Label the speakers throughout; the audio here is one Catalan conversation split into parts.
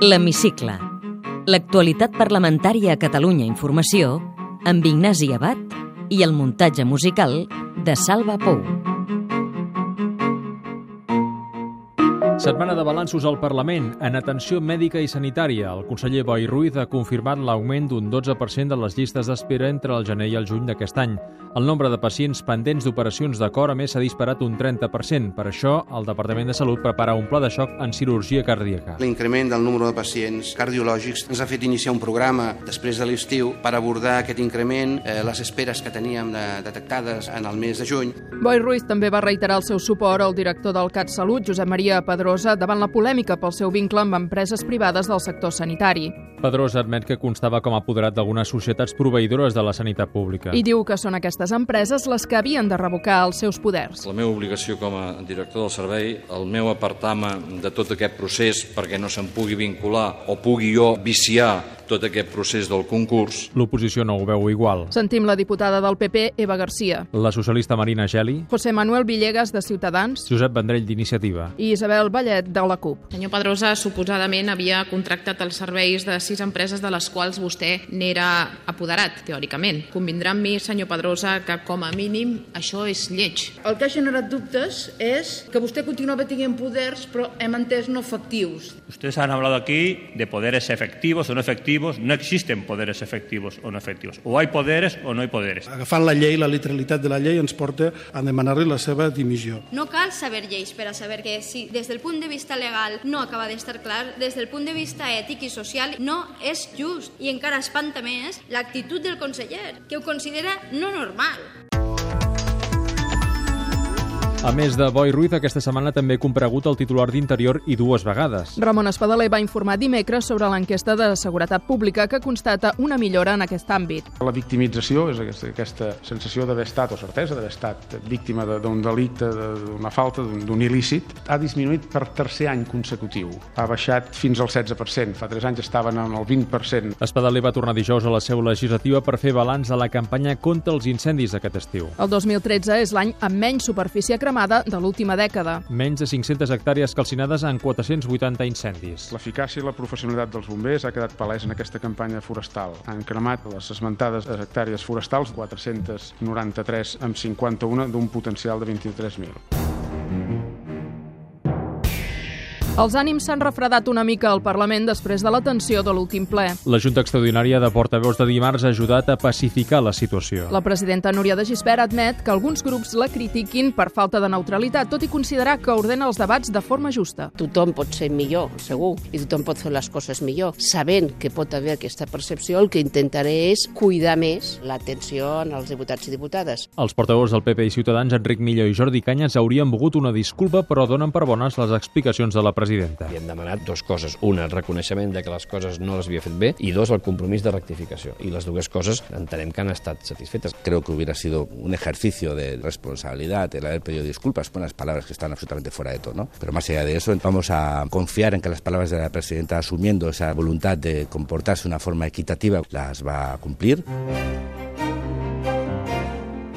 Speaker 1: L'Hemicicle. L'actualitat parlamentària a Catalunya Informació amb Ignasi Abad i el muntatge musical de Salva Pou.
Speaker 2: Setmana de balanços al Parlament. En atenció mèdica i sanitària, el conseller Boi Ruiz ha confirmat l'augment d'un 12% de les llistes d'espera entre el gener i el juny d'aquest any. El nombre de pacients pendents d'operacions de cor, a més, s'ha disparat un 30%. Per això, el Departament de Salut prepara un pla de xoc en cirurgia cardíaca.
Speaker 3: L'increment del número de pacients cardiològics ens ha fet iniciar un programa després de l'estiu per abordar aquest increment, eh, les esperes que teníem de, detectades en el mes de juny.
Speaker 4: Boi Ruiz també va reiterar el seu suport al director del CatSalut, Josep Maria Pedrosa, davant la polèmica pel seu vincle amb empreses privades del sector sanitari.
Speaker 2: Pedrosa admet que constava com a apoderat d'algunes societats proveïdores de la sanitat pública.
Speaker 4: I diu que són aquestes empreses les que havien de revocar els seus poders.
Speaker 5: La meva obligació com a director del servei, el meu apartama de tot aquest procés perquè no se'n pugui vincular o pugui jo viciar tot aquest procés del concurs.
Speaker 2: L'oposició no ho veu igual.
Speaker 4: Sentim la diputada del PP, Eva Garcia,
Speaker 2: La socialista Marina Geli,
Speaker 4: José Manuel Villegas, de Ciutadans,
Speaker 2: Josep Vendrell d'Iniciativa,
Speaker 4: i Isabel Vallet, de la CUP.
Speaker 6: senyor Pedrosa suposadament havia contractat els serveis de sis empreses de les quals vostè n'era apoderat, teòricament. Convindrà amb mi, senyor Pedrosa, que com a mínim això és lleig.
Speaker 7: El que ha generat dubtes és que vostè continuava tenint poders, però hem entès no efectius.
Speaker 8: Ustedes han hablado aquí de poderes efectivos o no efectivos. No existen poderes efectivos o no efectivos. O hay poderes o no hay poderes.
Speaker 9: agafant la llei, la literalitat de la llei, ens porta a demanar-li la seva dimissió.
Speaker 10: No cal saber lleis per a saber que si des del punt de vista legal no acaba d'estar clar, des del punt de vista ètic i social no és just i encara espanta més l'actitud del conseller, que ho considera no normal.
Speaker 2: A més de Boi Ruiz, aquesta setmana també ha compregut el titular d'Interior i dues vegades.
Speaker 4: Ramon Espadaler va informar dimecres sobre l'enquesta de seguretat pública que constata una millora en aquest àmbit.
Speaker 11: La victimització és aquesta, aquesta sensació d'haver estat, o certesa d'haver estat, víctima de- d'un delicte, de- d'una falta, d'un d'un il·lícit. Ha disminuït per tercer any consecutiu. Ha baixat fins al 16%. Fa tres anys estaven en el 20%.
Speaker 2: Espadaler va tornar dijous a la seu legislativa per fer balanç de la campanya contra els incendis aquest estiu.
Speaker 4: El 2013 és l'any amb menys superfície cremada de l'última dècada.
Speaker 2: Menys de 500 hectàrees calcinades en 480 incendis.
Speaker 11: L'eficàcia i la professionalitat dels bombers ha quedat palès en aquesta campanya forestal. Han cremat les esmentades hectàrees forestals, 493 amb 51, d'un potencial de 23.000.
Speaker 4: Els ànims s'han refredat una mica al Parlament després de la tensió de l'últim ple.
Speaker 2: La Junta Extraordinària de Portaveus de dimarts ha ajudat a pacificar la situació.
Speaker 4: La presidenta Núria de Gispert admet que alguns grups la critiquin per falta de neutralitat, tot i considerar que ordena els debats de forma justa.
Speaker 12: tothom pot ser millor, segur, i tothom pot fer les coses millor. Sabent que pot haver aquesta percepció, el que intentaré és cuidar més l'atenció en els diputats i diputades.
Speaker 2: Els portaveus del PP i Ciutadans, Enric Millo i Jordi Canyes, haurien volgut una disculpa, però donen per bones les explicacions de la presidenta.
Speaker 5: Li hem demanat dues coses. Una, el reconeixement de que les coses no les havia fet bé i dos, el compromís de rectificació. I les dues coses entenem que han estat satisfetes.
Speaker 3: Creo que hubiera sido un ejercicio de responsabilidad el haber pedido disculpas por unas palabras que están absolutamente fuera de tono. Pero más allá de eso, vamos a confiar en que las palabras de la presidenta, asumiendo esa voluntad de comportarse de una forma equitativa, las va a cumplir.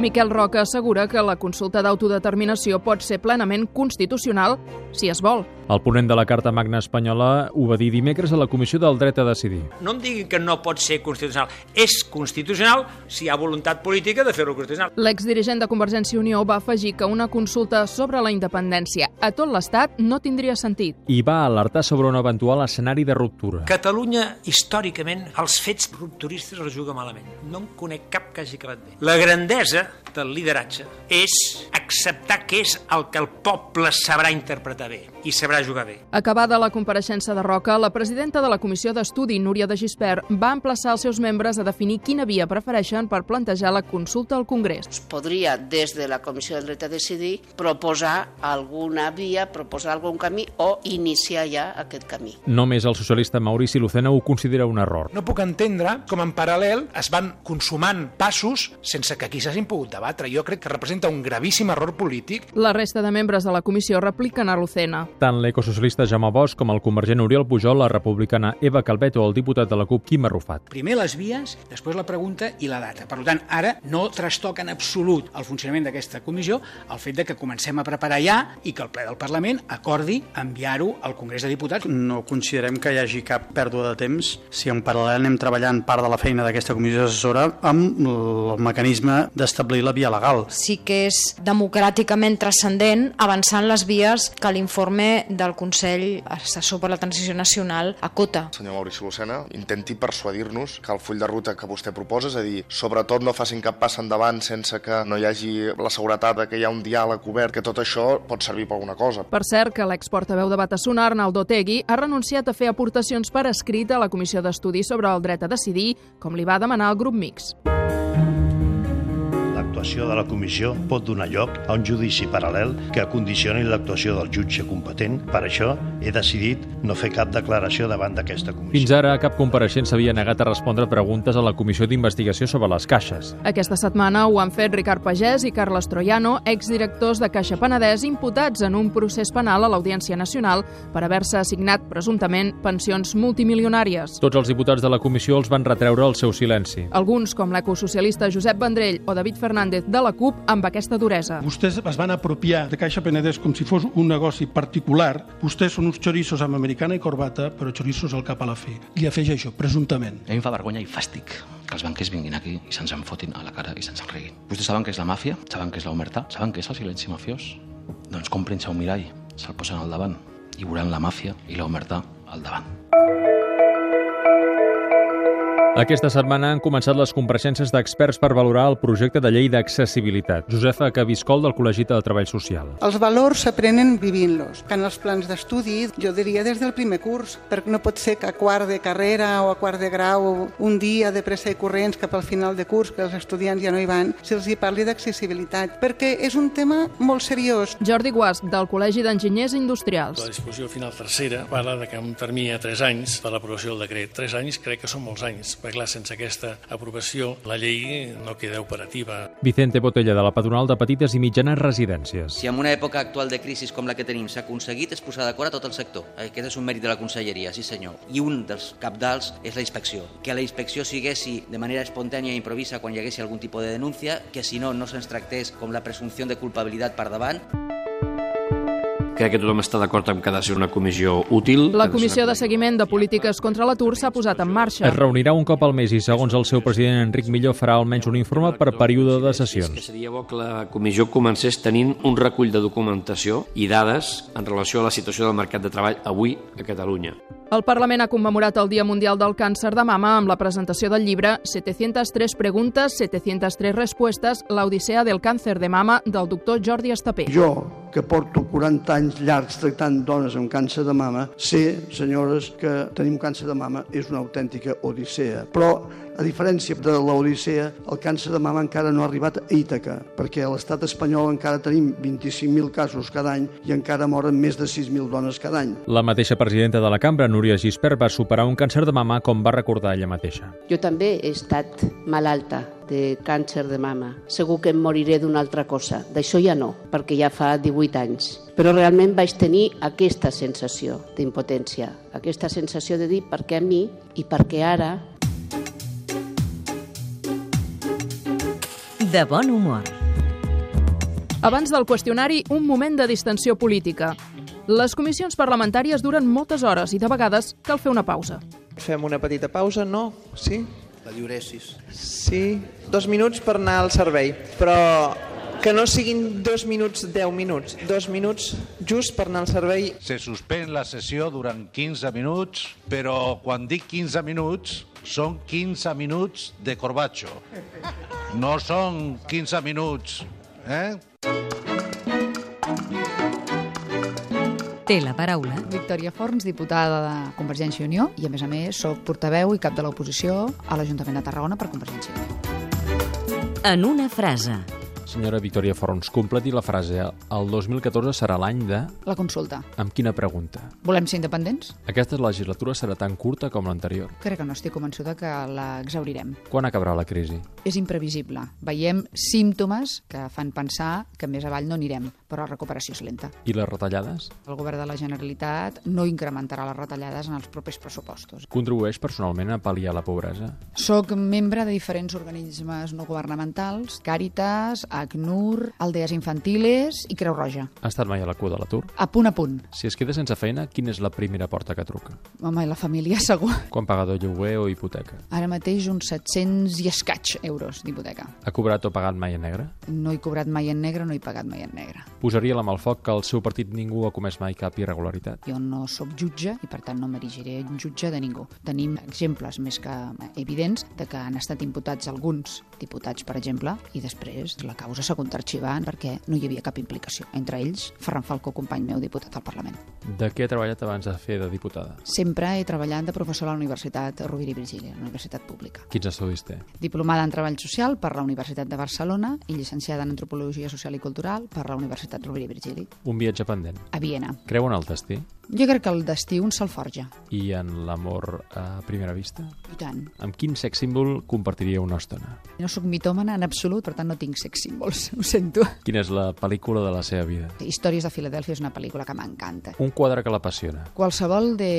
Speaker 4: Miquel Roca assegura que la consulta d'autodeterminació pot ser plenament constitucional si es vol.
Speaker 2: El ponent de la Carta Magna Espanyola ho va dir dimecres a la Comissió del Dret a Decidir.
Speaker 8: No em digui que no pot ser constitucional. És constitucional si hi ha voluntat política de fer-ho constitucional.
Speaker 4: L'exdirigent de Convergència i Unió va afegir que una consulta sobre la independència a tot l'Estat no tindria sentit.
Speaker 2: I va alertar sobre un eventual escenari de ruptura.
Speaker 8: Catalunya, històricament, els fets rupturistes els juga malament. No en conec cap que hagi acabat bé. La grandesa del lideratge és acceptar que és el que el poble sabrà interpretar bé i sabrà jugar bé.
Speaker 4: Acabada la compareixença de Roca, la presidenta de la comissió d'estudi, Núria de Gispert, va emplaçar els seus membres a definir quina via prefereixen per plantejar la consulta al Congrés.
Speaker 12: Es podria, des de la Comissió del Dret a Decidir, proposar alguna via, proposar algun camí o iniciar ja aquest camí.
Speaker 2: Només el socialista Maurici Lucena ho considera un error.
Speaker 8: No puc entendre com en paral·lel es van consumant passos sense que aquí s'hagin pogut
Speaker 13: pogut debatre. Jo crec que representa un gravíssim error polític.
Speaker 4: La resta de membres de la comissió repliquen a Lucena.
Speaker 2: Tant l'ecosocialista Jaume Bosch com el convergent Oriol Pujol, la republicana Eva Calvet o el diputat de la CUP Quim Arrufat.
Speaker 14: Primer les vies, després la pregunta i la data. Per tant, ara no trastoca en absolut el funcionament d'aquesta comissió el fet de que comencem a preparar ja i que el ple del Parlament acordi enviar-ho al Congrés de Diputats.
Speaker 15: No considerem que hi hagi cap pèrdua de temps si en paral·lel anem treballant part de la feina d'aquesta comissió assessora amb el mecanisme d'establir la via legal.
Speaker 12: Sí que és democràticament transcendent avançant les vies que l'informe del Consell Assessor per la Transició Nacional acota.
Speaker 16: Senyor Maurici Lucena, intenti persuadir-nos que el full de ruta que vostè proposa, és a dir, sobretot no facin cap pas endavant sense que no hi hagi la seguretat de que hi ha un diàleg obert, que tot això pot servir per alguna cosa.
Speaker 4: Per cert, que l'exportaveu de Batasuna, Arnaldo Tegui, ha renunciat a fer aportacions per escrit a la Comissió d'Estudi sobre el dret a decidir, com li va demanar el grup mixt.
Speaker 17: L'actuació de la comissió pot donar lloc a un judici paral·lel que condicioni l'actuació del jutge competent. Per això he decidit no fer cap declaració davant d'aquesta comissió.
Speaker 2: Fins ara, cap compareixent s'havia negat a respondre preguntes a la comissió d'investigació sobre les caixes.
Speaker 4: Aquesta setmana ho han fet Ricard Pagès i Carles Troiano, exdirectors de Caixa Penedès imputats en un procés penal a l'Audiència Nacional per haver-se assignat, presumptament, pensions multimilionàries.
Speaker 2: Tots els diputats de la comissió els van retreure el seu silenci.
Speaker 4: Alguns, com l'ecosocialista Josep Vendrell o David Fernández de la CUP, amb aquesta duresa.
Speaker 18: Vostès es van apropiar de Caixa Penedès com si fos un negoci particular. Vostès són uns xoriços amb americana i corbata, però xoriços al cap a la fi. I afegeixo, presumptament.
Speaker 19: A mi em fa vergonya i fàstic que els banquers vinguin aquí i se'ns en fotin a la cara i se'ns en riguin. Vostès saben que és la màfia, saben que és la omertà, saben que és el silenci mafiós. Doncs comprin-se un mirall, se'l posen al davant i veuran la màfia i la omertà al davant.
Speaker 2: Aquesta setmana han començat les compareixences d'experts per valorar el projecte de llei d'accessibilitat. Josefa Cabiscol, del Col·legi de Treball Social.
Speaker 20: Els valors s'aprenen vivint-los. En els plans d'estudi, jo diria des del primer curs, perquè no pot ser que a quart de carrera o a quart de grau, un dia de pressa i corrents cap al final de curs, que els estudiants ja no hi van, se'ls hi parli d'accessibilitat, perquè és un tema molt seriós.
Speaker 4: Jordi Guasc, del Col·legi d'Enginyers Industrials.
Speaker 21: La disposició final tercera parla de que un termini de 3 anys per l'aprovació del decret. 3 anys crec que són molts anys perquè clar, sense aquesta aprovació la llei no queda operativa.
Speaker 2: Vicente Botella, de la patronal de petites i mitjanes residències.
Speaker 3: Si en una època actual de crisi com la que tenim s'ha aconseguit és posar d'acord a tot el sector. eh, Aquest és un mèrit de la conselleria, sí senyor. I un dels capdals és la inspecció. Que la inspecció siguessi de manera espontània i improvisa quan hi hagués algun tipus de denúncia, que si no, no se'ns tractés com la presumpció de culpabilitat per davant
Speaker 22: crec que tothom està d'acord amb que ha de ser una comissió útil.
Speaker 4: La comissió de seguiment de polítiques contra l'atur s'ha posat en marxa.
Speaker 2: Es reunirà un cop al mes i, segons el seu president Enric Millor, farà almenys un informe per període de sessions.
Speaker 22: Que seria bo que la comissió comencés tenint un recull de documentació i dades en relació a la situació del mercat de treball avui a Catalunya.
Speaker 4: El Parlament ha commemorat el Dia Mundial del Càncer de Mama amb la presentació del llibre 703 preguntes, 703 respostes, l'odissea del càncer de mama del doctor Jordi Estapé.
Speaker 8: Jo, que porto 40 anys llargs tractant dones amb càncer de mama, sé, senyores, que tenim càncer de mama és una autèntica odissea. Però, a diferència de l'odissea, el càncer de mama encara no ha arribat a Ítaca, perquè a l'estat espanyol encara tenim 25.000 casos cada any i encara moren més de 6.000 dones cada any.
Speaker 2: La mateixa presidenta de la cambra, Núria Gispert va superar un càncer de mama com va recordar ella mateixa.
Speaker 23: Jo també he estat malalta de càncer de mama. Segur que em moriré d'una altra cosa. D'això ja no, perquè ja fa 18 anys. Però realment vaig tenir aquesta sensació d'impotència, aquesta sensació de dir per què a mi i per què ara.
Speaker 1: De bon humor.
Speaker 4: Abans del qüestionari, un moment de distensió política. Les comissions parlamentàries duren moltes hores i de vegades cal fer una pausa.
Speaker 24: Fem una petita pausa, no? Sí?
Speaker 25: La diuresis.
Speaker 24: Sí, dos minuts per anar al servei, però que no siguin dos minuts, deu minuts, dos minuts just per anar al servei.
Speaker 26: Se suspèn la sessió durant 15 minuts, però quan dic 15 minuts, són 15 minuts de corbatxo. No són 15 minuts, eh?
Speaker 1: té la paraula.
Speaker 27: Victòria Forns, diputada de Convergència i Unió, i a més a més sóc portaveu i cap de l'oposició a l'Ajuntament de Tarragona per Convergència i Unió.
Speaker 1: En una frase.
Speaker 2: senyora Victòria Forns. Completi la frase. El 2014 serà l'any de...
Speaker 26: La consulta.
Speaker 2: Amb quina pregunta?
Speaker 26: Volem ser independents?
Speaker 2: Aquesta legislatura serà tan curta com l'anterior.
Speaker 26: Crec que no estic convençuda que la exaurirem.
Speaker 2: Quan acabarà la crisi?
Speaker 26: És imprevisible. Veiem símptomes que fan pensar que més avall no anirem, però la recuperació és lenta.
Speaker 2: I les retallades?
Speaker 26: El govern de la Generalitat no incrementarà les retallades en els propers pressupostos.
Speaker 2: Contribueix personalment a pal·liar la pobresa?
Speaker 26: Soc membre de diferents organismes no governamentals, Càritas, ACNUR, Aldees Infantiles i Creu Roja.
Speaker 2: Ha estat mai a la cua de l'atur?
Speaker 26: A punt a punt.
Speaker 2: Si es queda sense feina, quina és la primera porta que truca?
Speaker 26: Home, i la família segur.
Speaker 2: Quan paga de lloguer o hipoteca?
Speaker 26: Ara mateix uns 700 i escaig euros d'hipoteca.
Speaker 2: Ha cobrat o pagat mai en negre?
Speaker 26: No he cobrat mai en negre, no he pagat mai en negre.
Speaker 2: Posaria la mà al foc que al seu partit ningú ha comès mai cap irregularitat.
Speaker 26: Jo no sóc jutge i per tant no m'erigiré jutge de ningú. Tenim exemples més que evidents de que han estat imputats alguns diputats, per exemple, i després la causa s'ha hagut d'arxivar perquè no hi havia cap implicació. Entre ells, Ferran Falcó, company meu diputat al Parlament.
Speaker 2: De què ha treballat abans de fer de diputada?
Speaker 26: Sempre he treballat de professor a la Universitat Rovira i Virgili, a la Universitat Pública.
Speaker 2: Quins estudis té?
Speaker 26: Diplomada en Treball Social per la Universitat de Barcelona i llicenciada en Antropologia Social i Cultural per la Universitat Rovira i Virgili.
Speaker 2: Un viatge pendent?
Speaker 26: A Viena.
Speaker 2: Creu en el destí?
Speaker 26: Jo crec que el destí un se'l forja.
Speaker 2: I en l'amor a primera vista?
Speaker 26: I tant.
Speaker 2: Amb quin sex símbol compartiria una estona?
Speaker 26: No sóc mitòmana en absolut, per tant no tinc sex símbols, ho sento.
Speaker 2: Quina és la pel·lícula de la seva vida?
Speaker 26: Històries de Filadèlfia és una pel·lícula que m'encanta.
Speaker 2: Un quadre que l'apassiona.
Speaker 26: Qualsevol de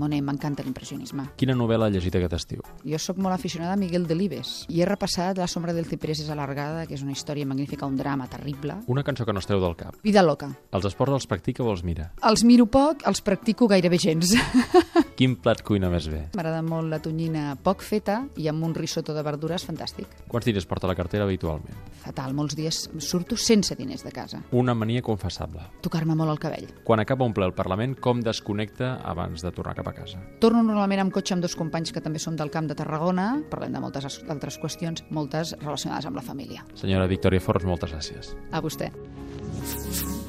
Speaker 26: Monet, m'encanta l'impressionisme.
Speaker 2: Quina novel·la ha llegit aquest estiu?
Speaker 26: Jo sóc molt aficionada a Miguel Delibes i he repassat La sombra del ciprés és alargada, que és una història magnífica, un drama terrible.
Speaker 2: Una cançó que no es treu del cap.
Speaker 26: Vida loca.
Speaker 2: Els esports els practica o els mira?
Speaker 26: Els miro poc, els practico gairebé gens.
Speaker 2: Quin plat cuina més bé?
Speaker 26: M'agrada molt la tonyina poc feta i amb un risotto de verdures fantàstic.
Speaker 2: Quants diners porta la cartera habitualment?
Speaker 26: Fatal, molts dies surto sense diners de casa.
Speaker 2: Una mania confessable.
Speaker 26: Tocar-me molt el cabell.
Speaker 2: Quan acaba un ple al Parlament, com desconnecta abans de tornar cap a casa?
Speaker 26: Torno normalment amb cotxe amb dos companys que també som del camp de Tarragona. Parlem de moltes altres qüestions, moltes relacionades amb la família.
Speaker 2: Senyora Victòria Forns, moltes gràcies.
Speaker 26: A vostè.